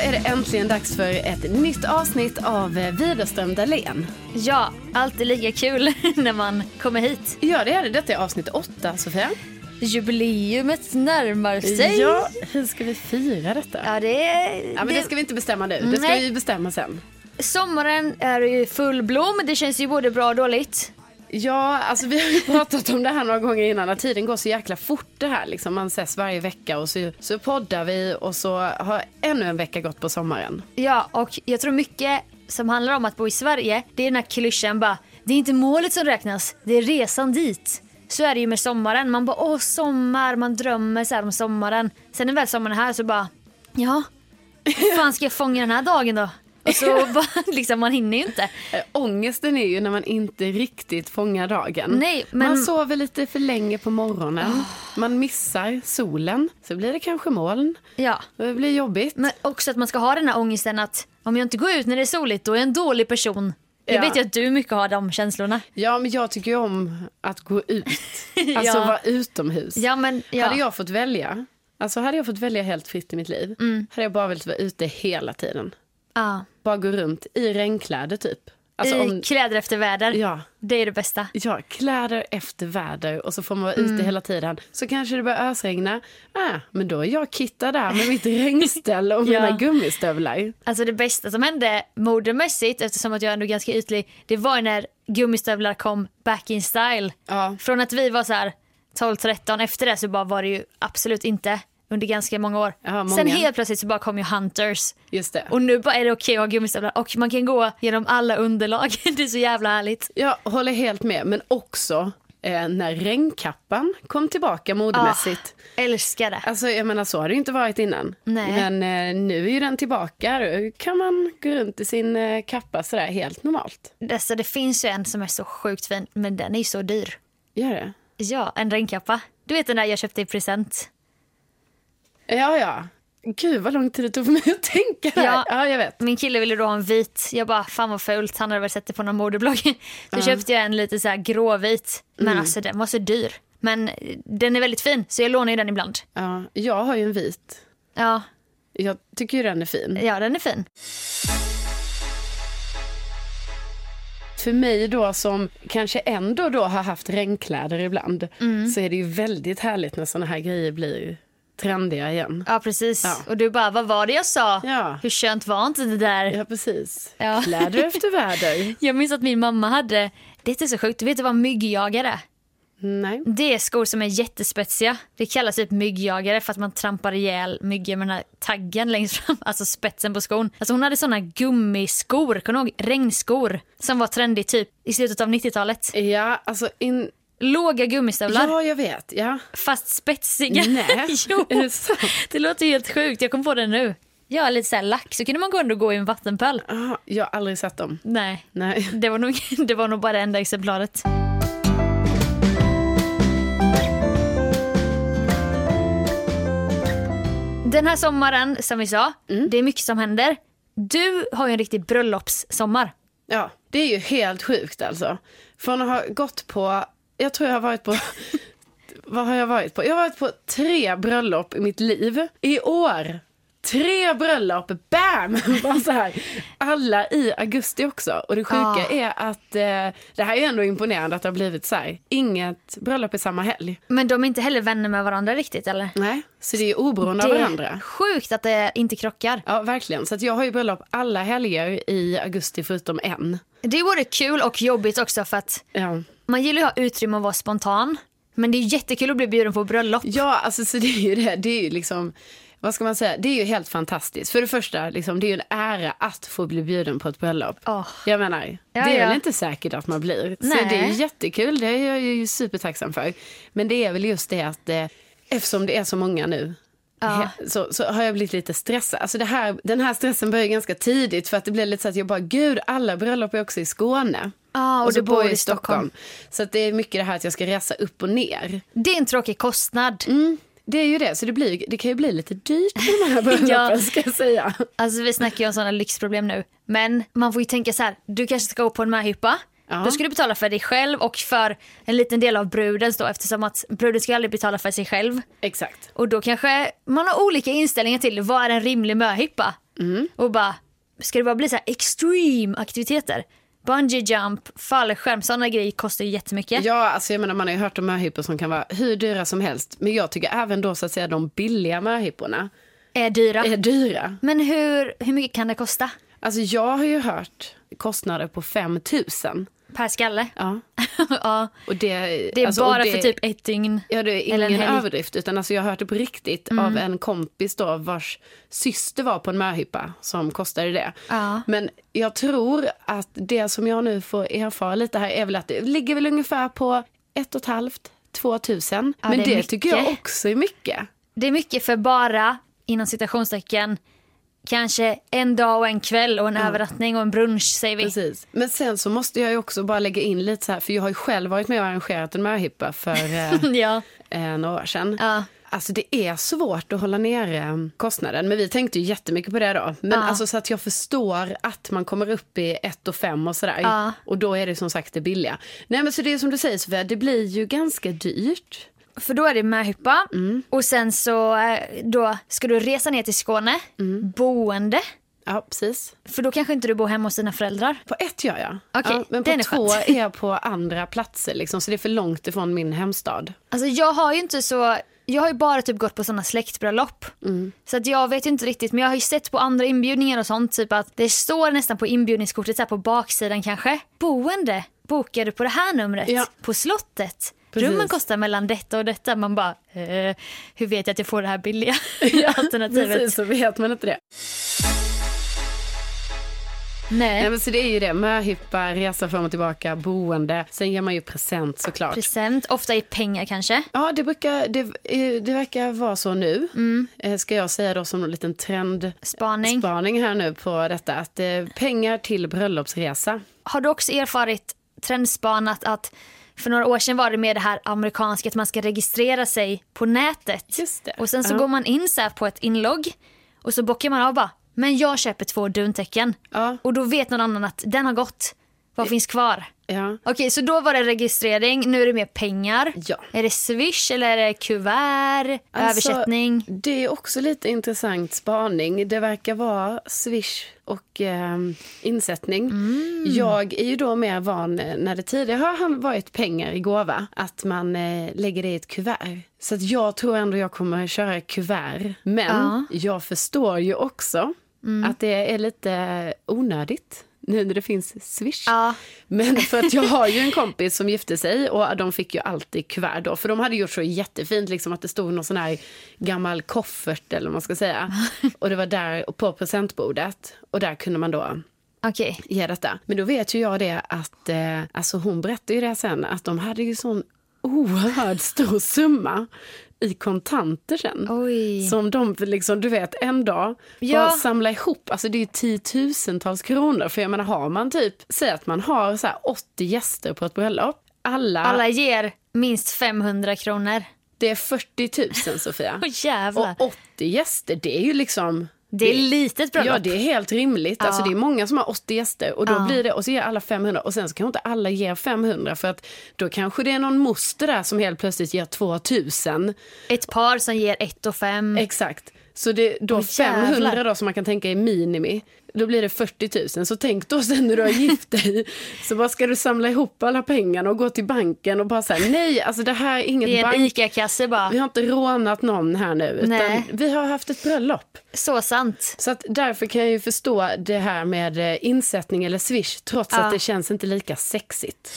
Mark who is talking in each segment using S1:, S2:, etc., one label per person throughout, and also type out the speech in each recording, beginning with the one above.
S1: är det äntligen dags för ett nytt avsnitt av eh, Widerström Dahlén.
S2: Ja, alltid lika kul när man kommer hit.
S1: Ja, det är det. Detta är avsnitt åtta, Sofia.
S2: Jubileumet närmar sig.
S1: Ja, hur ska vi fira detta?
S2: Ja, det är...
S1: Ja, men det ska vi inte bestämma nu. Det ska
S2: Nej.
S1: vi bestämma sen.
S2: Sommaren är i full blom. Det känns ju både bra och dåligt.
S1: Ja, alltså vi har ju pratat om det här några gånger innan, att tiden går så jäkla fort det här. Liksom. Man ses varje vecka och så, så poddar vi och så har ännu en vecka gått på sommaren.
S2: Ja, och jag tror mycket som handlar om att bo i Sverige, det är den här klyschan bara, det är inte målet som räknas, det är resan dit. Så är det ju med sommaren. Man bara, åh sommar, man drömmer så här om sommaren. Sen när väl sommaren är här så bara, ja, hur fan ska jag fånga den här dagen då? Och så bara, liksom, man hinner ju inte.
S1: Äh, ångesten är ju när man inte riktigt fångar dagen.
S2: Nej, men-
S1: Man sover lite för länge på morgonen, man missar solen, så blir det kanske moln.
S2: Ja.
S1: Det blir jobbigt.
S2: Men också att man ska ha den här ångesten att om jag inte går ut när det är soligt då är jag en dålig person.
S1: Ja.
S2: Jag vet ju att du mycket har de känslorna.
S1: Ja, men jag tycker ju om att gå ut. Alltså
S2: Ja.
S1: vara utomhus.
S2: Ja, men, ja.
S1: Hade jag fått välja, alltså hade jag fått välja helt fritt i mitt liv,
S2: Mm.
S1: hade jag bara velat vara ute hela tiden.
S2: Ja.
S1: Bara gå runt i regnkläder typ. Alltså
S2: I
S1: om,
S2: kläder efter väder.
S1: ja,
S2: Det är det bästa.
S1: ja, kläder efter väder och så får man vara
S2: Mm.
S1: ute hela tiden. Så kanske det börjar ösregna, ah, men då är jag Kitta där med mitt regnställ och
S2: Ja.
S1: mina gummistövlar.
S2: Alltså det bästa som hände modemässigt, eftersom att jag ändå är ganska ytlig, det var ju när gummistövlar kom back in style.
S1: Ja.
S2: Från att vi var så här 12-13, efter det så bara var det ju absolut inte under ganska många år.
S1: Ja, många.
S2: Sen helt plötsligt så bara kom ju hunters.
S1: Just det.
S2: Och nu bara är det okej att ha gummistövlar och man kan gå genom alla underlag. Det är så jävla härligt.
S1: Jag håller helt med, men också eh, när regnkappan kom tillbaka modemässigt.
S2: Ah, älskar det.
S1: Alltså jag menar så har det ju inte varit innan.
S2: Nej.
S1: Men eh, nu är ju den tillbaka. Då kan man gå runt i sin eh, kappa sådär helt normalt.
S2: Alltså, det finns ju en som är så sjukt fin, men den är ju så dyr.
S1: Gör det?
S2: Ja, en regnkappa. Du vet den där jag köpte i present.
S1: Ja, ja. Gud vad lång tid det tog för mig att tänka det här.
S2: Ja.
S1: Ja, jag vet.
S2: Min kille ville då ha en vit. Jag bara, fan vad fult. Han hade väl sett det på någon modeblogg. Så köpte jag en lite så här gråvit. Men
S1: Mm.
S2: alltså den var så dyr. Men eh, den är väldigt fin, så jag lånar ju den ibland.
S1: Ja, jag har ju en vit.
S2: Ja,
S1: Jag tycker ju den är fin.
S2: ja den är fin.
S1: För mig då som kanske ändå då har haft regnkläder ibland så är det ju väldigt härligt när sådana här grejer blir trendiga igen.
S2: Ja, precis.
S1: Ja.
S2: Och du bara, vad var det jag sa?
S1: Ja.
S2: Hur skönt var inte det där?
S1: Ja, precis.
S2: Ja.
S1: Kläder efter väder.
S2: Jag minns att min mamma hade, det är så sjukt, du vet vad myggjagare är?
S1: Nej.
S2: Det är skor som är jättespetsiga. Det kallas typ myggjagare för att man trampar ihjäl myggor med den här taggen längst fram, alltså spetsen på skon. Alltså hon hade såna gummiskor, kommer du ihåg? Regnskor som var trendigt typ i slutet av 90-talet.
S1: Ja, alltså in...
S2: Låga gummistövlar
S1: Ja, jag vet. Ja.
S2: fast spetsiga.
S1: Nej,
S2: jo.
S1: är det sant?
S2: Det låter ju helt sjukt, jag kom på det nu. Ja, lite så här lack, så kunde man gå ändå gå i en vattenpöl.
S1: Ah, jag har aldrig sett dem.
S2: Nej.
S1: Nej.
S2: Det var, nog, det var nog bara det enda exemplaret. Den här sommaren, som vi sa,
S1: Mm.
S2: det är mycket som händer. Du har ju en riktig bröllopssommar.
S1: Ja, det är ju helt sjukt alltså. Från att ha gått på, jag tror jag har varit på, vad har jag varit på? Jag har varit på tre bröllop i mitt liv. I år, tre bröllop, bam! Bara så här. Alla i augusti också. Och det sjuka
S2: Ah.
S1: är att, eh, det här är ju ändå imponerande att det har blivit så här. Inget bröllop i samma helg.
S2: Men de är inte heller vänner med varandra riktigt, eller?
S1: Nej. Så det är ju oberoende av
S2: det är
S1: varandra.
S2: sjukt att det inte krockar.
S1: Ja, verkligen. Så att jag har ju bröllop alla helger i augusti förutom en.
S2: Det är både kul och jobbigt också för att
S1: Ja.
S2: man gillar ju att ha utrymme att vara spontan. Men det är jättekul att bli bjuden på bröllop.
S1: Ja, alltså så det är ju det. Det är ju liksom, vad ska man säga, det är ju helt fantastiskt. För det första, liksom, det är ju en ära att få bli bjuden på ett bröllop.
S2: Åh.
S1: Jag menar,
S2: Ja,
S1: det är
S2: ja.
S1: väl inte säkert att man blir. Så
S2: Nej.
S1: det är ju jättekul, det är jag ju supertacksam för. Men det är väl just det att eh, eftersom det är så många nu
S2: Ja.
S1: he- Så, så har jag blivit lite stressad. Alltså det här, den här stressen börjar ganska tidigt för att det blir lite så att jag bara, gud alla bröllop är också i Skåne.
S2: Ja, och
S1: så
S2: du bor
S1: jag
S2: i Stockholm.
S1: Så att det är mycket det här att jag ska resa upp och ner.
S2: Det är en tråkig kostnad.
S1: Mm, det är ju det, så det, blir, det kan ju bli lite dyrt med de här bröllopen
S2: Ja.
S1: ska jag säga.
S2: Alltså vi snackar ju om sådana lyxproblem nu. Men man får ju tänka så här, du kanske ska gå på en möhippa.
S1: Ja.
S2: Då ska du betala för dig själv och för en liten del av brudens då eftersom att bruden ska aldrig betala för sig själv.
S1: Exakt.
S2: Och då kanske man har olika inställningar till vad är en rimlig möhippa.
S1: Mm.
S2: Och bara, ska det bara bli så här extreme aktiviteter? Bungee jump, fallskärm, sådana grejer kostar ju jättemycket.
S1: Ja, alltså jag menar man har ju hört om möhippor som kan vara hur dyra som helst. Men jag tycker även då så att säga de billiga möhipporna
S2: Är dyra.
S1: är dyra.
S2: Men hur, hur mycket kan det kosta
S1: Alltså jag har ju hört kostnader på 5 000.
S2: per skalle?
S1: Ja.
S2: ja,
S1: Och det,
S2: det är
S1: alltså, och
S2: bara
S1: det-
S2: för typ ett dygn.
S1: Ja, det är
S2: Eller en
S1: ingen
S2: helg. Mm.
S1: överdrift. Utan alltså jag har hört det på riktigt av en kompis då vars syster var på en möhippa som kostade det.
S2: Ja.
S1: Men jag tror att det som jag nu får erfara lite här är väl att det ligger väl ungefär på ett och ett halvt, två tusen.
S2: Ja,
S1: Men
S2: det
S1: det,
S2: är
S1: tycker jag
S2: mycket.
S1: också är mycket.
S2: Det är mycket för bara, inom citationstecken, kanske en dag och en kväll och en övernattning och en brunch säger vi.
S1: Precis. Men sen så måste jag ju också bara lägga in lite så här, för jag har ju själv varit med och arrangerat en möhippa för eh,
S2: ja.
S1: eh, några år sedan.
S2: Ja.
S1: Alltså det är svårt att hålla nere kostnaden, men vi tänkte ju jättemycket på det då. Men
S2: Ja.
S1: alltså så att jag förstår att man kommer upp i 1 och 5 och sådär.
S2: Ja.
S1: Och då är det som sagt det billiga. Nej men så det är som du säger Sofia, det blir ju ganska dyrt.
S2: För då är det möhippa och sen så eh, då ska du resa ner till Skåne, boende.
S1: Ja precis.
S2: För då kanske inte du bor hemma hos dina föräldrar.
S1: På ett gör jag.
S2: Okej,
S1: ja, men på
S2: den är
S1: två
S2: skönt.
S1: är jag på andra platser liksom, så det är för långt ifrån min hemstad.
S2: Alltså jag har ju inte så, jag har ju bara typ gått på sådana släktbröllop.
S1: Mm.
S2: Så att jag vet ju inte riktigt men jag har ju sett på andra inbjudningar och sånt typ att det står nästan på inbjudningskortet så här på baksidan kanske. Boende bokar du på det här numret
S1: Ja.
S2: på slottet.
S1: Precis.
S2: Rummen kostar mellan detta och detta. Man bara, eh, hur vet jag att jag får det här billiga alternativet?
S1: Precis, så vet man inte det. Nej
S2: Nej,
S1: men så det är ju det, möhippa, resa fram och tillbaka, boende. Sen ger man ju present såklart.
S2: present, ofta i pengar kanske.
S1: Ja, det, brukar, det, eh, det verkar vara så nu. Eh, Ska jag säga då som en liten trendspaning
S2: Spaning.
S1: här nu på detta. Att eh, pengar till bröllopsresa.
S2: Har du också erfarit trendspanat att för några år sedan var det med det här amerikanska att man ska registrera sig på nätet.
S1: Just det.
S2: Och sen så
S1: Ja.
S2: går man in så här på ett inlogg och så bockar man av bara, men jag köper två duntäcken.
S1: Ja.
S2: Och då vet någon annan att den har gått. Vad finns kvar?
S1: Ja.
S2: Okej, så då var det registrering, nu är det mer pengar.
S1: Ja.
S2: Är det swish eller är det kuvert?
S1: Alltså,
S2: översättning?
S1: Det är också lite intressant spaning. Det verkar vara swish och eh, insättning.
S2: Mm.
S1: Jag är ju då mer van eh, när det tidigare har han varit pengar i gåva. Att man eh, lägger det i ett kuvert. Så att jag tror ändå jag kommer köra kuvert. Men
S2: Ja. Mm.
S1: jag förstår ju också att det är lite onödigt. Nu när det finns swish.
S2: Ja.
S1: Men för att jag har ju en kompis som gifte sig och de fick ju alltid kuvert då. För de hade gjort så jättefint liksom att det stod någon sån här gammal koffert eller vad man ska säga. Och det var där på presentbordet och där kunde man då
S2: Okej.
S1: ge detta. Men då vet ju jag det att, eh, alltså hon berättade ju det sen, att de hade ju sån oerhörd stor summa i kontanter sen.
S2: Oj.
S1: Som de, liksom, du vet, en dag
S2: Ja.
S1: bara samla ihop. Alltså det är ju tiotusentals kronor. För jag menar, har man typ, säg att man har så här 80 gäster på ett bröllop. Alla,
S2: Alla ger minst 500 kronor.
S1: det är 40 000 Sofia.
S2: Åh jävlar.
S1: Och 80 gäster, det är ju liksom...
S2: det är litet bröllop.
S1: Ja, det är helt rimligt. Alltså, det är många som har 80 gäster och då blir det, och så ger alla 500 och sen så kan inte alla ge 500 för att då kanske det är någon moster där som helt plötsligt ger 2000.
S2: Ett par som ger ett och fem.
S1: Exakt. Så det, då
S2: jävlar.
S1: 500 då som man kan tänka är minimi, då blir det 40 000. Så tänk då sen när du har gift dig, så bara ska du samla ihop alla pengarna och gå till banken och bara säga nej, alltså det här är
S2: I
S1: inget
S2: en
S1: bank.
S2: ICA-kasse bara.
S1: Vi har inte rånat någon här nu, utan
S2: Nej.
S1: vi har haft ett bröllop.
S2: Så sant.
S1: Så att därför kan jag ju förstå det här med eh, insättning eller swish, trots
S2: Ja.
S1: att det känns inte lika sexigt.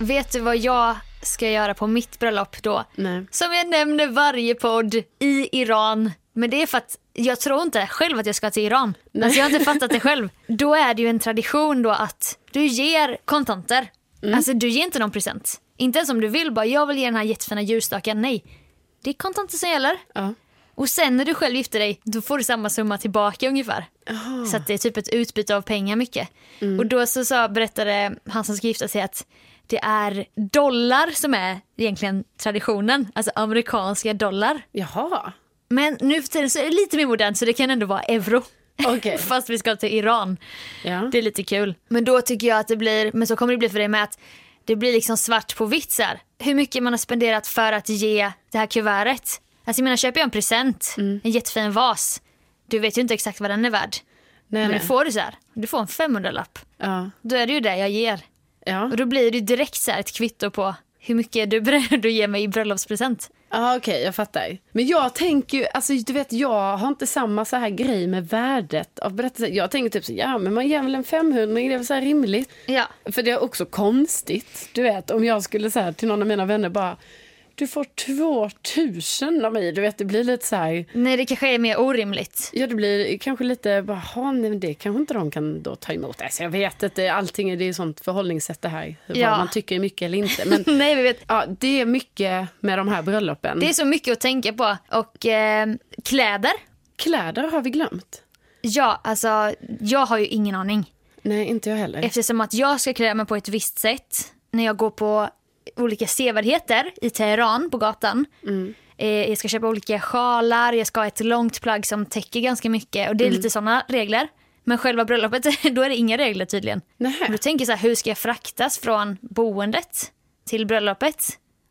S2: Vet du vad jag ska göra på mitt bröllop då?
S1: Nej.
S2: Som jag nämner varje podd i Iran. Men det är för att jag tror inte själv att jag ska till Iran. Alltså jag har inte fattat det själv. Då är det ju en tradition då att du ger kontanter.
S1: Mm.
S2: Alltså du ger inte någon present. Inte ens om du vill bara jag vill ge den här jättefina ljusstaken. Nej. Det är kontanter som gäller.
S1: Ja.
S2: Och sen när du själv gifter dig, då får du samma summa tillbaka ungefär. Så att det är typ ett utbyte av pengar mycket. Och då så, sa berättade han som ska gifta sig att det är dollar som är egentligen traditionen, alltså amerikanska dollar.
S1: Jaha.
S2: Men nu för tiden så är det lite mer modernt så det kan ändå vara euro.
S1: Okej.
S2: Fast vi ska till Iran.
S1: Ja.
S2: Det är lite kul. Men då tycker jag att det blir, men så kommer det bli för dig med att det blir liksom svart på vitt så här. Hur mycket man har spenderat för att ge det här kuvertet. Alltså jag menar köper jag en present, en jättefin vas. Du vet ju inte exakt vad den är värd.
S1: Nej,
S2: men
S1: nej.
S2: du får det så här, du får en 500-lapp.
S1: Ja.
S2: Då är det ju det jag ger.
S1: Ja.
S2: Och då blir det ju direkt så här ett kvitto på hur mycket du är beredd att ge mig i bröllopspresent.
S1: Ja, okej, jag fattar. Men jag tänker ju, alltså du vet, jag har inte samma så här grej med värdet av berättelsen. Jag tänker typ så, ja men man ger väl en 500, det är väl så här rimligt.
S2: Ja.
S1: För det är också konstigt, du vet, om jag skulle säga till någon av mina vänner bara, du får 2000 av mig, du vet, det blir lite så här,
S2: Nej det kanske är mer orimligt.
S1: ja det blir kanske lite, bara, "Ha, nej men det kanske inte de kan då ta emot. Alltså jag vet att det, allting är, det är sånt förhållningssätt det här,
S2: Ja.
S1: vad man tycker är mycket eller inte. Men
S2: Nej vi vet,
S1: ja, det är mycket med de här bröllopen.
S2: det är så mycket att tänka på. Och eh, kläder.
S1: Kläder har vi glömt.
S2: Ja, alltså jag har ju ingen aning.
S1: Nej, inte jag heller.
S2: Eftersom att jag ska klä mig på ett visst sätt när jag går på olika sevärdheter i Teheran på gatan. Eh, jag ska köpa olika sjalar, jag ska ha ett långt plagg som täcker ganska mycket och det är lite sådana regler. Men själva bröllopet, då är det inga regler tydligen.
S1: Nähä.
S2: Och Då tänker jag så här, hur ska jag fraktas från boendet till bröllopet?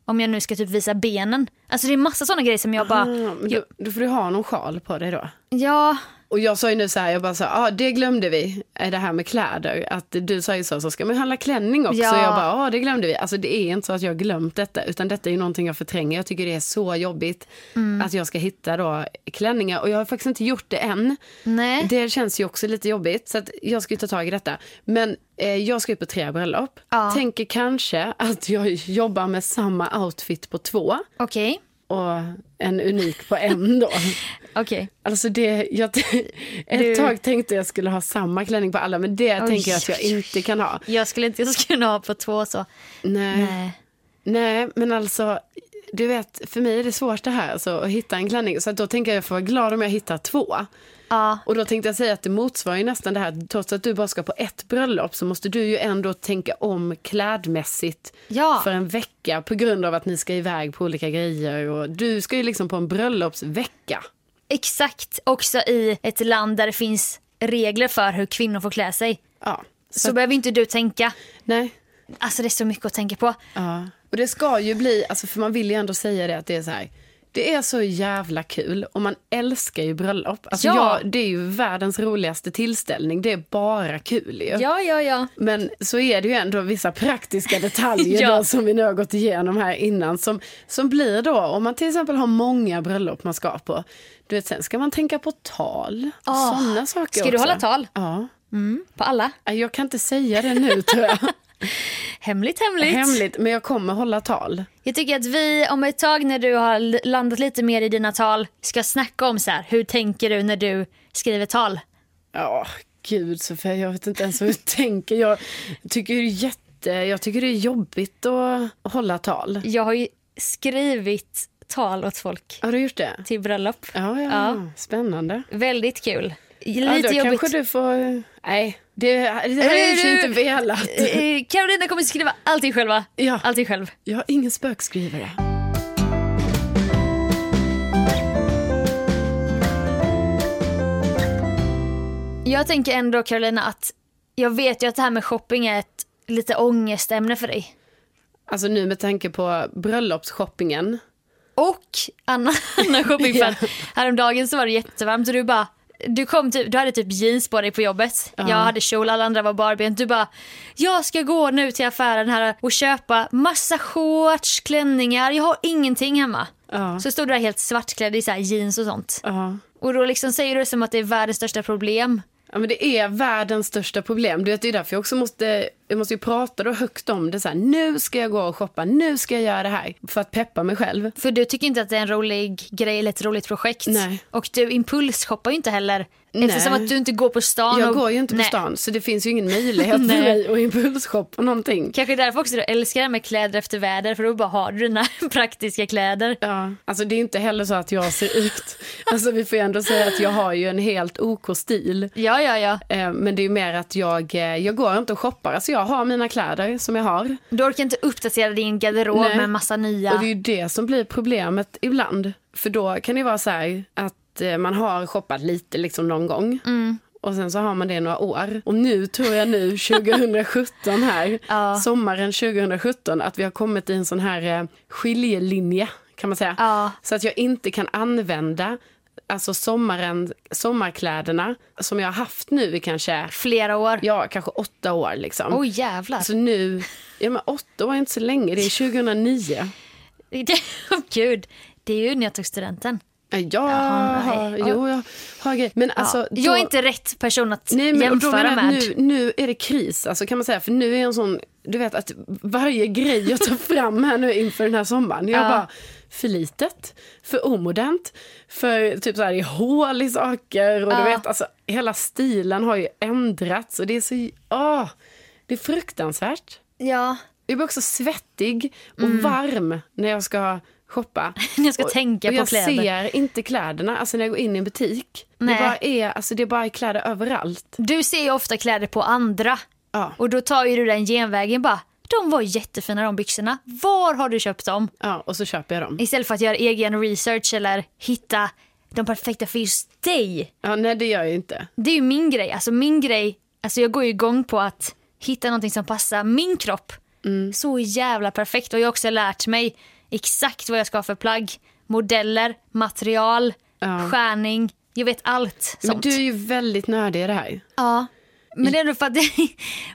S2: Om jag nu ska typ visa benen. Alltså det är massa sådana grejer som jag bara,
S1: Ja, Mm, men då, då får du ha någon sjal på dig då.
S2: ja,
S1: Och jag sa ju nu så här, jag bara sa, ah, det glömde vi, eh, det här med kläder. Att du sa ju så, så ska man handla klänning också.
S2: Ja.
S1: Jag bara, ah, det glömde vi. Alltså det är inte så att jag har glömt detta, utan detta är ju någonting jag förtränger. Jag tycker det är så jobbigt
S2: Mm.
S1: att jag ska hitta då klänningar. Och jag har faktiskt inte gjort det än.
S2: nej.
S1: Det känns ju också lite jobbigt, så att jag ska ju ta tag i detta. Men eh, jag ska ju på tre bröllop.
S2: Ja.
S1: Tänker kanske att jag jobbar med samma outfit på två
S2: Okej,
S1: och en unik på en då.
S2: okej.
S1: Alltså det, jag, t- ett
S2: Du-
S1: tag tänkte jag skulle ha samma klänning på alla men det
S2: Oj,
S1: tänker jag att jag
S2: oj, oj.
S1: inte kan ha.
S2: Jag skulle inte jag skulle kunna ha på två så. Eh,
S1: Nej. Nej.
S2: Nej.
S1: men alltså du vet för mig är det svårt det här alltså, att hitta en klänning så att då tänker jag att jag får vara glad om jag hittar två.
S2: Ja,
S1: Och då tänkte jag säga att det motsvarar ju nästan det här trots att du bara ska på ett bröllop så måste du ju ändå tänka om klädmässigt
S2: Ja.
S1: för en vecka på grund av att ni ska iväg på olika grejer och du ska ju liksom på en bröllopsvecka.
S2: exakt. Också i ett land där det finns regler för hur kvinnor får klä sig.
S1: Ja,
S2: Så, behöver inte du tänka.
S1: nej.
S2: Alltså det är så mycket att tänka på.
S1: Ja, och det ska ju bli, alltså för man vill ju ändå säga det att det är så här. Det är så jävla kul och man älskar ju bröllop. Alltså
S2: Ja.
S1: jag, det är ju världens roligaste tillställning, det är bara kul ju.
S2: Ja, ja, ja.
S1: Men så är det ju ändå vissa praktiska detaljer
S2: Ja.
S1: då, som vi nu har gått igenom här innan som, som blir då, om man till exempel har många bröllop man ska på, du vet sen ska man tänka på tal, och
S2: Ah.
S1: sådana saker
S2: Ska du
S1: också.
S2: hålla tal?
S1: Ja,
S2: På alla.
S1: jag kan inte säga det nu tror jag.
S2: Hemligt, hemligt.
S1: Hemligt, men jag kommer hålla tal.
S2: Jag tycker att vi om ett tag när du har l- landat lite mer i dina tal ska snacka om så här, hur tänker du när du skriver tal?
S1: Ja, gud Sofia, jag vet inte ens hur jag tänker. Jag tycker det är jätte... Jag tycker det är jobbigt att hålla tal.
S2: Jag har ju skrivit tal åt folk
S1: Har du gjort det?
S2: till bröllop.
S1: Ja, ja,
S2: Ja.
S1: spännande.
S2: Väldigt kul. Lite
S1: Ja, då
S2: jobbigt.
S1: kanske du får... Nej, det, det hade jag i och för sig inte velat.
S2: Eh, Carolina kommer skriva allting själva.
S1: Ja.
S2: Allting själv.
S1: Jag har ingen spökskrivare.
S2: Jag tänker ändå Carolina att jag vet ju att det här med shopping är ett lite ångestämne för dig.
S1: Alltså nu med tanke på bröllopsshoppingen.
S2: Och annan, annan shopping för
S1: Ja.
S2: att häromdagen så var det jättevarmt och du bara du, kom typ, du hade typ jeans på dig på jobbet. Jag hade kjol, alla andra var barbent. Du bara, jag ska gå nu till affären här och köpa massa shorts, klänningar. Jag har ingenting hemma.
S1: Ja.
S2: Så stod du där helt svartklädd i så här jeans och sånt.
S1: Ja.
S2: Och då liksom säger du det som att det är världens största problem.
S1: Ja, men det är världens största problem. Du vet, det är därför jag också måste, jag måste ju prata då högt om det. Så här, nu ska jag gå och shoppa, nu ska jag göra det här. För att peppa mig själv.
S2: För du tycker inte att det är en rolig grej eller ett roligt projekt.
S1: Nej.
S2: Och du impulsshoppar ju inte heller. Eftersom
S1: Nej.
S2: att du inte går på stan.
S1: Jag
S2: och...
S1: går ju inte på
S2: Nej.
S1: stan så det finns ju ingen möjlighet för
S2: Nej.
S1: mig att impulsshoppa någonting.
S2: Kanske därför också du älskar det här med kläder efter väder för då bara har du dina praktiska kläder.
S1: Ja, alltså det är inte heller så att jag ser ut, alltså vi får ju ändå säga att jag har ju en helt OK stil.
S2: Ja, ja, ja.
S1: Eh, Men det är ju mer att jag, eh, jag går inte och shoppar, alltså jag har mina kläder som jag har.
S2: Du orkar inte uppdatera din garderob
S1: Nej.
S2: med massa nya.
S1: Och det är ju det som blir problemet ibland. För då kan det ju vara så här att att eh, man har shoppat lite liksom någon gång.
S2: Mm.
S1: Och sen så har man det i några år. Och nu tror jag nu 2017 här,
S2: Ja.
S1: sommaren 2017, att vi har kommit i en sån här eh, skiljelinje kan man säga.
S2: Ja.
S1: Så att jag inte kan använda alltså sommaren, sommarkläderna som jag har haft nu i kanske,
S2: Flera år.
S1: ja kanske åtta år liksom.
S2: Åh jävlar.
S1: Så nu, ja men åtta år är inte så länge, det är 2009.
S2: Åh, Gud, det är ju när jag tog studenten.
S1: Jag
S2: Jaha,
S1: har,
S2: nej.
S1: Eh, jo jag har grejer. Men alltså,
S2: ja.
S1: då-
S2: Jag är inte rätt person att
S1: Nej, men och då menar
S2: jämföra
S1: jag
S2: med.
S1: att nu, nu är det kris, alltså kan man säga. För nu är jag en sån, du vet att varje grej jag tar fram här nu inför den här sommaren. Jag
S2: Ja.
S1: bara, för litet, för omodernt, för typ så här i hål i saker. Och
S2: Ja.
S1: du vet, alltså hela stilen har ju ändrats och det är så, ah, det är fruktansvärt.
S2: Ja,
S1: Jag blir också svettig och
S2: Mm.
S1: varm när jag ska shoppa.
S2: när jag ska tänka
S1: Och
S2: på
S1: jag
S2: kläder.
S1: ser inte kläderna, alltså när jag går in i en butik.
S2: Nej.
S1: Det bara är, alltså det är bara kläder överallt.
S2: Du ser ju ofta kläder på andra.
S1: Ja.
S2: Och då tar ju du den genvägen bara. De var jättefina de byxorna. Var har du köpt dem?
S1: Ja, och så köper jag dem.
S2: Istället för att göra egen research eller hitta de perfekta för just dig.
S1: Ja, nej, det gör jag inte.
S2: Det är ju min grej. Alltså min grej, alltså jag går ju igång på att hitta någonting som passar min kropp.
S1: Mm.
S2: Så jävla perfekt. Och jag har också lärt mig exakt vad jag ska ha för plagg. Modeller, material,
S1: Ja.
S2: skärning. Jag vet allt
S1: Men
S2: sånt.
S1: du är ju väldigt nördig i det här.
S2: Ja, men det är ändå för att det,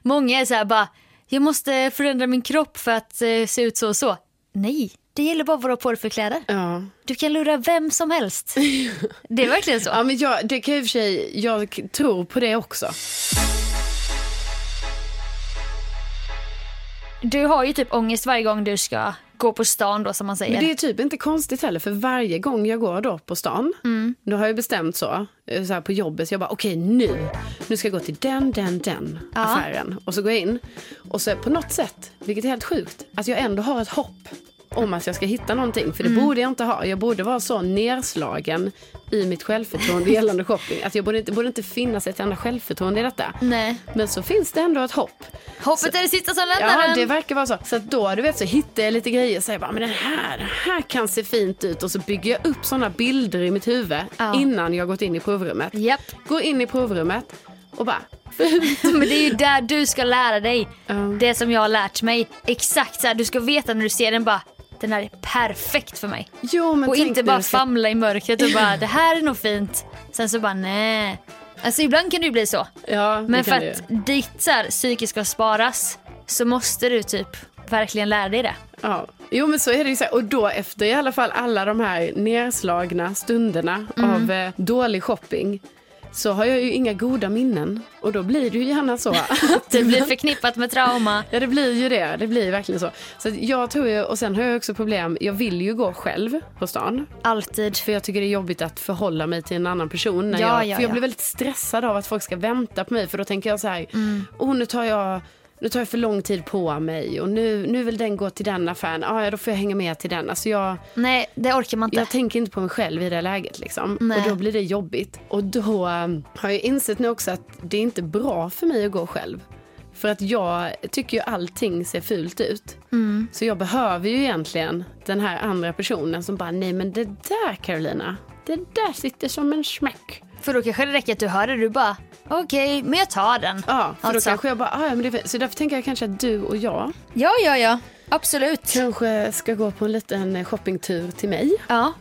S2: många är så här bara, jag måste förändra min kropp för att eh, se ut så och så. Nej, det gäller bara vad du har på dig för kläder.
S1: Ja.
S2: Du kan lura vem som helst. Det är verkligen så.
S1: Ja, men jag, det kan jag i och för sig, jag k- tror på det också.
S2: Du har ju typ ångest varje gång du ska gå på stan då som man säger.
S1: Men det är typ inte konstigt heller, för varje gång jag går då på stan,
S2: Mm.
S1: då har jag bestämt så, eh, så här på jobbet, så jag bara okej nu, nu ska jag gå till den, den, den
S2: Ja.
S1: affären. Och så går jag in, och så på något sätt, vilket är helt sjukt, att jag ändå har ett hopp om att jag ska hitta någonting, för det
S2: Mm.
S1: borde jag inte ha. Jag borde vara så nerslagen i mitt självförtroende gällande shopping, att jag borde inte, borde inte finnas ett enda självförtroende i detta.
S2: Nej.
S1: Men så finns det ändå ett hopp.
S2: Hoppet är det sista som lämnar
S1: Ja,
S2: en.
S1: det verkar vara så. Så att då du vet, så hittar jag lite grejer och säger bara, men den här, den här kan se fint ut. Och så bygger jag upp sådana bilder i mitt huvud
S2: Ja.
S1: innan jag gått in i provrummet.
S2: Japp.
S1: Går in i provrummet och bara, fult.
S2: Men det är ju där du ska lära dig.
S1: Ja.
S2: Det som jag har lärt mig. Exakt så här, du ska veta när du ser den bara, den här är perfekt för mig.
S1: Jo, men
S2: Och
S1: tänk
S2: inte
S1: nu,
S2: bara
S1: jag ska-
S2: famla i mörkret och bara det här är nog fint. Sen så bara nej. Alltså ibland kan det ju bli så.
S1: Ja, det
S2: Men för
S1: kan du
S2: att ditt så här, psyke ska sparas så måste du typ verkligen lära dig det.
S1: Ja. Jo men så är det ju. Så här. Och då efter i alla fall alla de här nerslagna stunderna av eh, dålig shopping så har jag ju inga goda minnen. Och då blir det ju gärna så att
S2: Det blir förknippat med trauma.
S1: Ja det blir ju det, det blir ju verkligen så. Så att jag tror ju, och sen har jag också problem, jag vill ju gå själv på stan.
S2: Alltid.
S1: För jag tycker det är jobbigt att förhålla mig till en annan person. När
S2: Ja,
S1: jag,
S2: ja,
S1: för jag
S2: ja.
S1: blir väldigt stressad av att folk ska vänta på mig. För då tänker jag så här,
S2: Mm.
S1: oh, nu tar jag nu tar jag för lång tid på mig och nu, nu vill den gå till den affären. Ah, ja, då får jag hänga med till den. Alltså jag,
S2: Nej, det orkar man inte.
S1: jag tänker inte på mig själv i det läget. Liksom.
S2: Nej.
S1: Och då blir det jobbigt. Och då um, har jag insett nu också att det är inte bra för mig att gå själv. För att jag tycker ju allting ser fult ut. Så jag behöver ju egentligen den här andra personen som bara, nej men det där Carolina, det där sitter som en smäck.
S2: För då kanske det räcker att du hör det. Du bara okej, men jag tar den.
S1: Ja, för
S2: Alltså.
S1: då kanske jag bara, ah, ja, men det är fel." Så därför tänker jag kanske att du och jag
S2: Ja, ja, ja. Absolut.
S1: kanske ska gå på en liten shoppingtur till mig.
S2: Ja.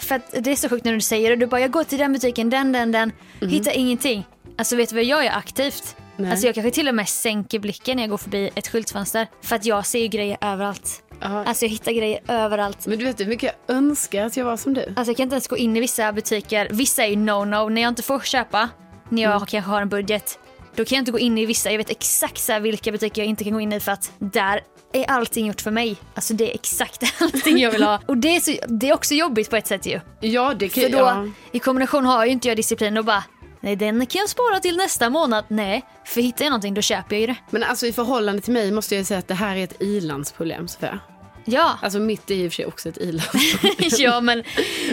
S2: För att det är så sjukt när du säger det. Du bara, jag går till den butiken, den, den, den. Hittar ingenting. Alltså vet du vad jag gör aktivt?
S1: Nej.
S2: Alltså jag kanske till och med sänker blicken när jag går förbi ett skyltfönster. För att jag ser ju grejer överallt.
S1: Ja.
S2: Alltså jag hittar grejer överallt.
S1: Men du vet hur mycket jag önskar att jag var som du.
S2: Alltså jag kan inte ens gå in i vissa butiker. Vissa är ju no-no. När jag inte får köpa, när jag kanske har en budget, då kan jag inte gå in i vissa. Jag vet exakt så här vilka butiker jag inte kan gå in i för att där är allting gjort för mig. Alltså det är exakt allting jag vill ha. Och det är, så, det är också jobbigt på ett sätt ju.
S1: Ja, det kan
S2: För då,
S1: ja.
S2: i kombination har ju inte jag disciplin och bara Nej den kan jag spara till nästa månad. Nej, för hittar jag någonting då köper jag ju det.
S1: Men alltså i förhållande till mig måste jag ju säga att det här är ett ilandsproblem Sofia.
S2: Ja,
S1: Alltså mitt är i och för sig också ett ilandsproblem.
S2: ja men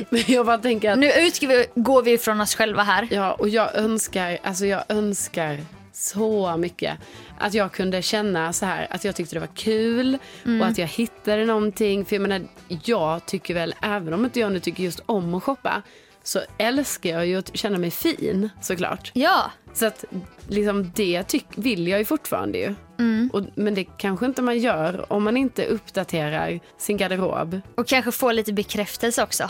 S1: Men jag bara tänker att,
S2: nu utgår vi, går vi ifrån oss själva här.
S1: ja och jag önskar, alltså jag önskar så mycket att jag kunde känna så här att jag tyckte det var kul och att jag hittade någonting. För jag menar, jag tycker väl, även om inte jag nu tycker just om att shoppa, så älskar jag ju att känna mig fin såklart.
S2: Ja,
S1: Så att liksom det tyck, vill jag ju fortfarande ju.
S2: Mm.
S1: Och, men det kanske inte man gör om man inte uppdaterar sin garderob.
S2: och kanske få lite bekräftelse också.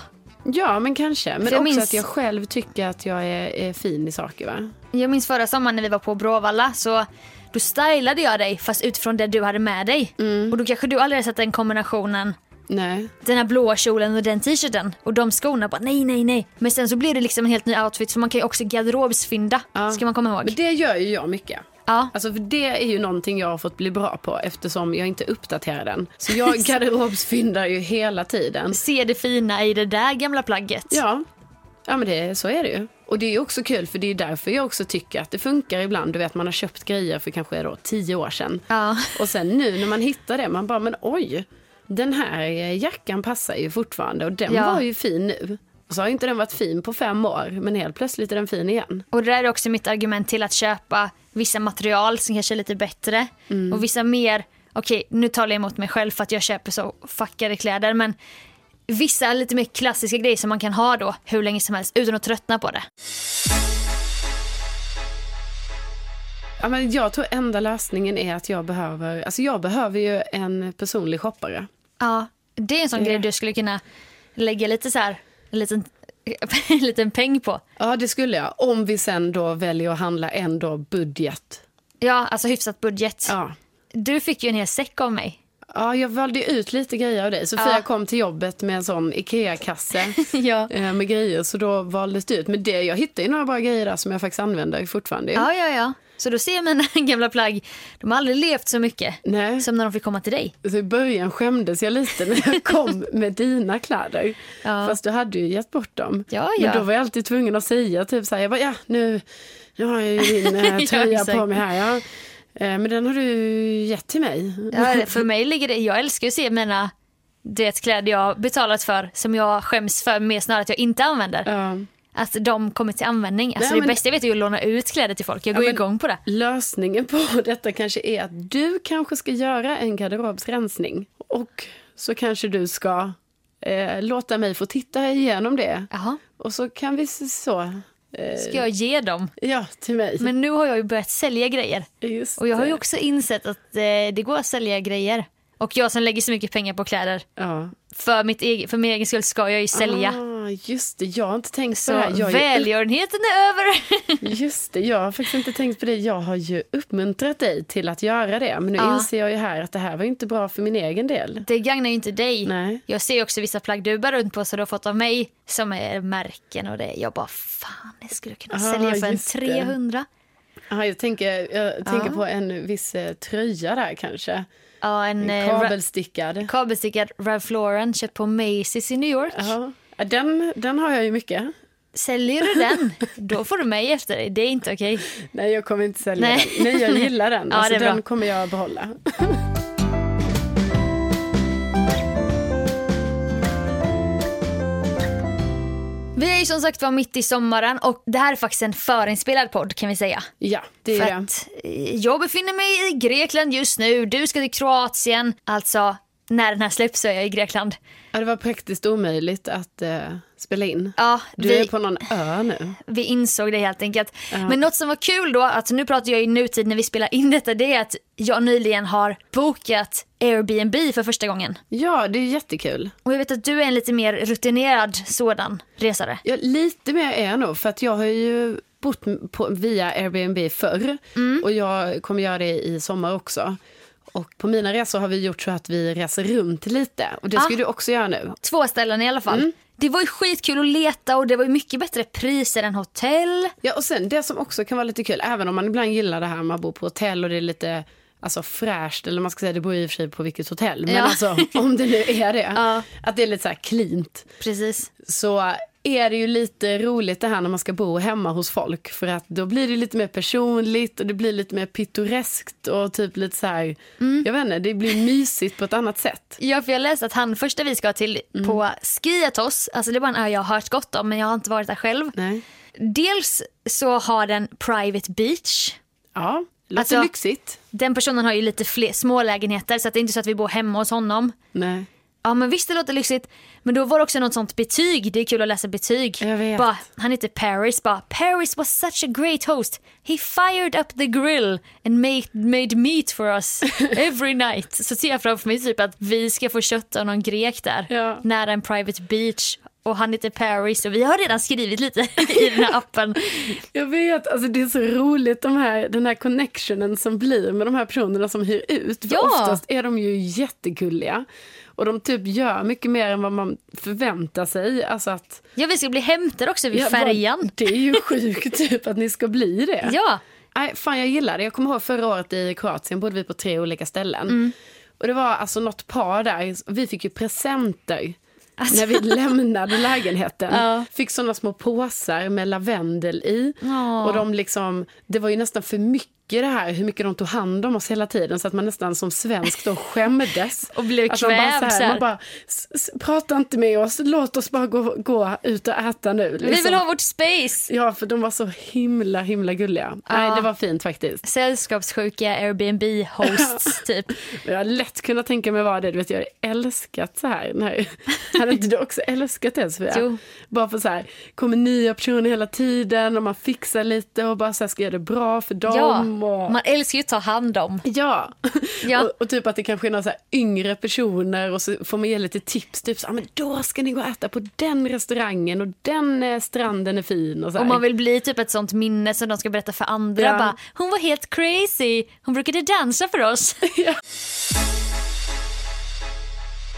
S1: Ja, men kanske. Men
S2: För jag
S1: också
S2: minns-
S1: att jag själv tycker att jag är, är fin i saker va?
S2: Jag minns förra sommaren när vi var på Bråvalla så då stylade jag dig fast utifrån det du hade med dig.
S1: Mm.
S2: Och då kanske du aldrig hade sett den kombinationen
S1: Nej.
S2: den här blåa kjolen och den t-shirten och de skorna bara nej nej nej. Men sen så blir det liksom en helt ny outfit så man kan ju också garderobsfynda
S1: Ja.
S2: ska man komma ihåg.
S1: Men det gör ju jag mycket.
S2: Ja.
S1: Alltså för det är ju någonting jag har fått bli bra på eftersom jag inte uppdaterar den. Så jag garderobsfyndar ju hela tiden.
S2: Se det fina i det där gamla plagget.
S1: Ja, ja men det, så är det ju. Och det är ju också kul för det är därför jag också tycker att det funkar ibland. Du vet man har köpt grejer för kanske då tio år sedan.
S2: Ja.
S1: Och sen nu när man hittar det man bara men oj. Den här eh, jackan passar ju fortfarande och den
S2: Ja.
S1: var ju fin nu. Och så har ju inte den varit fin på fem år men helt plötsligt är den fin igen.
S2: Och det där är också mitt argument till att köpa vissa material som kanske är lite bättre och vissa mer, okej nu talar jag emot mig själv för att jag köper så fuckade kläder men vissa lite mer klassiska grejer som man kan ha då hur länge som helst utan att tröttna på det.
S1: Ja, men jag tror enda lösningen är att jag behöver, alltså jag behöver ju en personlig shoppare.
S2: Ja, det är en sån grej du skulle kunna lägga lite så här, en liten, en liten peng på.
S1: Ja det skulle jag, om vi sen då väljer att handla en då budget.
S2: Ja, alltså hyfsat budget.
S1: Ja.
S2: Du fick ju en hel säck av mig.
S1: Ja, jag valde ut lite grejer av dig. Sofia
S2: Ja.
S1: kom till jobbet med en sån IKEA-kasse
S2: Ja.
S1: eh, med grejer, så då valdes det ut. Men det, jag hittade ju några bra grejer där som jag faktiskt använder fortfarande.
S2: Ja, ja, ja. Så då ser jag mina gamla plagg, de har aldrig levt så mycket
S1: Nej.
S2: som när de fick komma till dig.
S1: Så I början skämdes jag lite när jag kom med dina kläder.
S2: Ja.
S1: Fast du hade ju gett bort dem.
S2: Ja,
S1: Men
S2: ja.
S1: då var jag alltid tvungen att säga typ så här, jag bara, ja nu, nu har jag ju din eh,
S2: Ja,
S1: tröja
S2: exakt.
S1: på mig här. Ja. Eh, men den har du gett till mig. Mm.
S2: Ja, för mig ligger det, jag älskar ju att se mina du vet, kläder jag betalat för som jag skäms för mer snarare att jag inte använder.
S1: Ja.
S2: Att de kommer till användning. Alltså
S1: Nej, men-
S2: det bästa jag vet är ju att låna ut kläder till folk. Jag går ju
S1: men-
S2: igång på det.
S1: Lösningen på detta kanske är att du kanske ska göra en garderobsrensning. Och så kanske du ska eh, låta mig få titta igenom det.
S2: Jaha,
S1: Och så kan vi s- så, eh,
S2: ska jag ge dem?
S1: ja, till mig.
S2: Men nu har jag ju börjat sälja grejer.
S1: Just
S2: Och jag har ju
S1: det.
S2: också insett att eh, det går att sälja grejer. Och jag som lägger så mycket pengar på kläder,
S1: Ja.
S2: för, mitt egen, för min egen skull ska jag ju sälja.
S1: Ah, just det, jag har inte tänkt
S2: så
S1: på det här. Jag har ju,
S2: välgörenheten är över.
S1: just det, jag har faktiskt inte tänkt på det. Jag har ju uppmuntrat dig till att göra det. Men nu
S2: Ja.
S1: inser jag ju här att det här var ju inte bra för min egen del.
S2: det gagnar ju inte dig.
S1: Nej.
S2: Jag ser ju också vissa plagg du bär runt på som du har fått av mig som är märken och det. Jag bara fan, det skulle jag kunna
S1: Ah,
S2: sälja för en
S1: just det.
S2: 300.
S1: Ah, jag tänker, jag tänker
S2: Ja.
S1: på en viss eh, tröja där kanske.
S2: Ja, en eh, ra-
S1: Kabelstickad.
S2: kabelstickad Ralph Lauren köpt på Macy's i New York.
S1: Ja, den, den har jag ju mycket.
S2: Säljer du den, då får du mig efter dig. Det är inte okej.
S1: Nej, jag kommer inte sälja
S2: Nej.
S1: den. Nej, jag gillar den.
S2: Ja,
S1: alltså,
S2: det är bra.
S1: den kommer jag behålla.
S2: Vi är ju som sagt var mitt i sommaren och det här är faktiskt en förinspelad podd kan vi säga.
S1: Ja, det
S2: För
S1: är det.
S2: att eh, jag befinner mig i Grekland just nu, du ska till Kroatien. Alltså, när den här släpps så är jag i Grekland.
S1: Ja, det var praktiskt omöjligt att eh, spela in.
S2: Ja,
S1: Du
S2: vi,
S1: är på någon ö nu.
S2: vi insåg det helt enkelt. Men något som var kul då, att nu pratar jag i nutid när vi spelar in detta, det är att jag nyligen har bokat Airbnb för första gången.
S1: Ja, det är jättekul.
S2: Och jag vet att du är en lite mer rutinerad sådan resare.
S1: Ja, lite mer är jag nog, för att jag har ju bott på, via Airbnb förr och jag kommer göra det i sommar också. Och på mina resor har vi gjort så att vi reser runt lite och det ska
S2: Ah.
S1: du också göra nu.
S2: Två ställen i alla fall. Det var ju skitkul att leta och det var ju mycket bättre priser än hotell.
S1: Ja, och sen det som också kan vara lite kul, även om man ibland gillar det här man bor på hotell och det är lite alltså, fräscht, eller man ska säga det beror i och för sig på vilket hotell, men
S2: Ja.
S1: alltså om det nu är det,
S2: Ja.
S1: att det är lite så här cleant,
S2: Precis.
S1: så är det ju lite roligt det här när man ska bo hemma hos folk, för att då blir det lite mer personligt och det blir lite mer pittoreskt och typ lite så här,
S2: Mm.
S1: jag vet inte, det blir mysigt på ett annat sätt.
S2: Ja, för jag läste att han första vi ska till på Skiatos, alltså det är bara en ö jag har hört gott om men jag har inte varit där själv.
S1: Nej.
S2: Dels så har den private beach.
S1: Ja, låter
S2: Alltså-
S1: lyxigt.
S2: Den personen har ju lite fler, små lägenheter så att det är inte så att vi bor hemma hos honom.
S1: Nej.
S2: Ja men visst det låter lyxigt. Men då var det också något sånt betyg. Det är kul att läsa betyg.
S1: Jag vet.
S2: Bara, han heter Paris bara. Paris was such a great host. He fired up the grill and made, made meat for us every night. Så ser jag framför mig typ att vi ska få kött av någon grek där.
S1: Ja.
S2: Nära en private beach. Och han heter Paris och vi har redan skrivit lite i den här appen.
S1: Jag vet, alltså det är så roligt de här, den här connectionen som blir med de här personerna som hyr ut. För
S2: Ja.
S1: oftast är de ju jättegulliga. Och de typ gör mycket mer än vad man förväntar sig. Alltså att,
S2: Ja vi ska bli hämtade också vid
S1: Ja,
S2: färjan.
S1: vad- Det är ju sjukt typ att ni ska bli det.
S2: Ja.
S1: Nej, fan jag gillar det. Jag kommer ihåg förra året i Kroatien bodde vi på tre olika ställen.
S2: Mm.
S1: Och det var alltså något par där, vi fick ju presenter.
S2: Alltså.
S1: När vi lämnade lägenheten.
S2: Ja.
S1: Fick sådana små påsar med lavendel i.
S2: Ja.
S1: Och de liksom, det var ju nästan för mycket det här hur mycket de tog hand om oss hela tiden så att man nästan som svensk då skämdes.
S2: Och blev
S1: Att man bara
S2: kvävd
S1: så
S2: så här.
S1: här, man bara, "S- s- prata inte med oss, låt oss bara gå, gå ut och äta nu.
S2: Vi
S1: liksom.
S2: vill ha vårt space.
S1: Ja, för de var så himla, himla gulliga. Nej, det var fint faktiskt.
S2: Sällskapssjuka Airbnb-hosts typ.
S1: Jag har lätt kunnat tänka mig vad det. är. Du vet, jag har älskat så här. Nej. Hade inte du också älskat det, Sofia?
S2: Jo.
S1: Bara för så här, kommer nya personer hela tiden och man fixar lite och bara så här, ska göra det bra för
S2: Ja,
S1: dem. Och...
S2: man älskar ju att ta hand om.
S1: Ja,
S2: Ja.
S1: Och, och typ att det kanske är några så här yngre personer och så får man ge lite tips. Typ så, ah, men då ska ni gå och äta på den restaurangen och den eh, stranden är fin. Och, så här.
S2: Om man vill bli typ ett sånt minne som de ska berätta för andra.
S1: Ja.
S2: Bara, hon var helt crazy, hon brukade dansa för oss.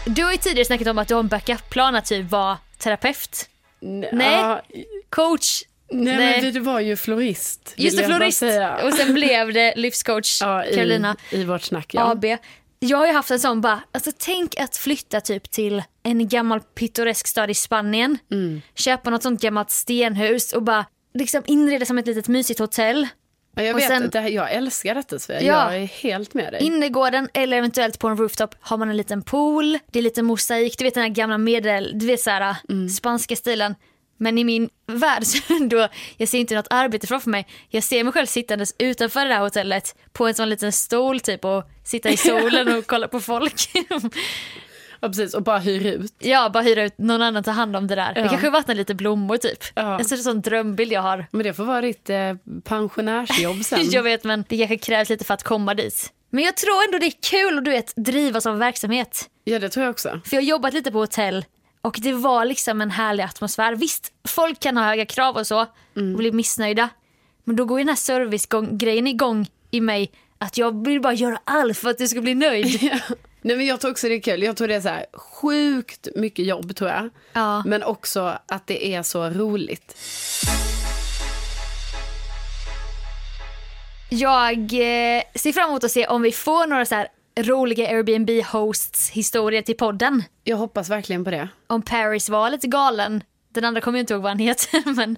S2: Du har ju tidigare snackat om att du har en backup-plan att typ vara terapeut, Nej.
S1: Ja,
S2: coach,
S1: Nej,
S2: Nej.
S1: men du, du var ju florist. vill
S2: just det
S1: jag bara
S2: florist
S1: säga.
S2: och sen blev det livscoach
S1: ja, i,
S2: Carolina.
S1: I vårt snack, ja.
S2: AB. Jag har ju haft en sån bara, alltså tänk att flytta typ till en gammal pittoresk stad i Spanien. Köpa något sånt gammalt stenhus och bara liksom inreda som ett litet mysigt hotell.
S1: Ja, jag
S2: och
S1: vet,
S2: sen-
S1: att det här, jag älskar detta Sofia.
S2: Ja.
S1: Jag är helt med dig.
S2: Innergården eller eventuellt på en rooftop har man en liten pool, det är lite mosaik, du vet den här gamla medel, du vet såhär spanska stilen. Men i min värld så ändå, jag ser inte något arbete framför mig. Jag ser mig själv sittandes utanför det här hotellet på en sån liten stol typ och sitta i solen och kolla på folk.
S1: Ja, precis, och bara hyr ut.
S2: Ja, bara hyra ut, någon annan tar hand om det där. Det
S1: Ja.
S2: kanske vattnar lite blommor typ.
S1: Ja.
S2: En sån, sån drömbild jag har.
S1: Men det får vara ditt eh, pensionärsjobb sen.
S2: Jag vet men det kanske krävs lite för att komma dit. Men jag tror ändå det är kul att du vet, driva som verksamhet.
S1: Ja, det tror jag också.
S2: För jag har jobbat lite på hotell och det var liksom en härlig atmosfär. Visst, folk kan ha höga krav och så
S1: Mm.
S2: och bli missnöjda. Men då går ju den här servicegrejen igång i mig att jag vill bara göra allt för att du ska bli nöjd.
S1: Ja. Nej, men jag tror också det är kul. Jag tror det är så här, sjukt mycket jobb tror jag.
S2: Ja.
S1: Men också att det är så roligt.
S2: Jag eh, ser fram emot att se om vi får några så här roliga Airbnb-hosts historier till podden.
S1: Jag hoppas verkligen på det.
S2: Om Paris var lite galen. Den andra kommer jag inte ihåg vad han heter. Men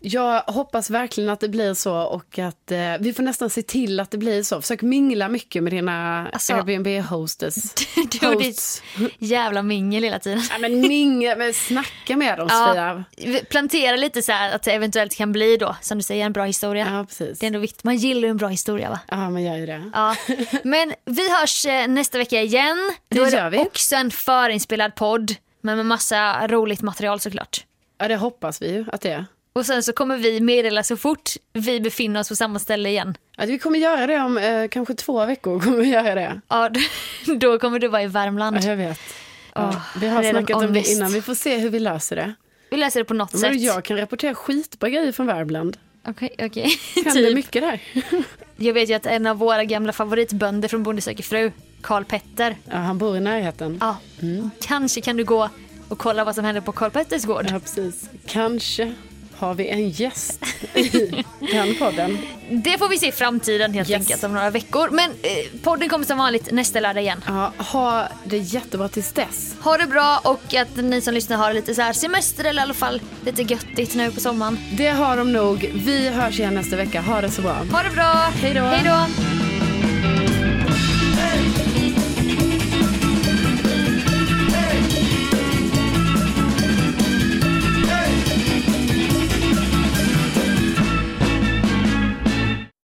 S1: Jag hoppas verkligen att det blir så och att eh, vi får nästan se till att det blir så. Försök mingla mycket med dina
S2: Alltså-
S1: Airbnb-hostess.
S2: du och ditt jävla mingel hela tiden.
S1: Ja, men mingla, men snacka med dem Sofia.
S2: plantera lite så här att det eventuellt kan bli då, som du säger, en bra historia.
S1: Ja, precis.
S2: Det är ändå viktigt. Man gillar ju en bra historia va?
S1: Ja, man gör ju det.
S2: Ja. Men vi hörs eh, nästa vecka igen. Då
S1: Det
S2: är
S1: gör vi.
S2: också en förinspelad podd. Men med massa roligt material såklart.
S1: Ja, det hoppas vi ju att det är.
S2: Och sen så kommer vi meddela så fort vi befinner oss på samma ställe igen.
S1: Ja, vi kommer göra det om eh, kanske två veckor. Kommer vi göra det.
S2: Ja, d- då kommer du vara i
S1: Ja,
S2: Värmland.
S1: jag vet. Ja,
S2: Åh,
S1: vi har
S2: redan
S1: snackat om det
S2: ångest.
S1: innan. Vi får se hur vi löser det.
S2: Vi läser det på något sätt.
S1: Men jag kan rapportera skitbra grejer från Värmland.
S2: Okej, okej.
S1: Det händer
S2: typ.
S1: mycket där.
S2: Jag vet ju att en av våra gamla favoritbönder från Bonde söker fru, Karl Petter.
S1: Ja, han bor i närheten.
S2: Ja,
S1: Mm.
S2: kanske kan du gå och kolla vad som händer på Karl Petters gård.
S1: Ja, precis. Kanske har vi en gäst i den podden.
S2: Det får vi se i framtiden helt
S1: Yes.
S2: enkelt om några veckor. Men eh, podden kommer som vanligt nästa lördag igen.
S1: Ja, ha det jättebra tills dess.
S2: Ha det bra och att ni som lyssnar har lite så här semester eller i alla fall lite göttigt nu på sommaren.
S1: Det har de nog. Vi hörs igen nästa vecka. Ha det så bra.
S2: Ha det bra!
S1: Hej då.
S2: Hej då!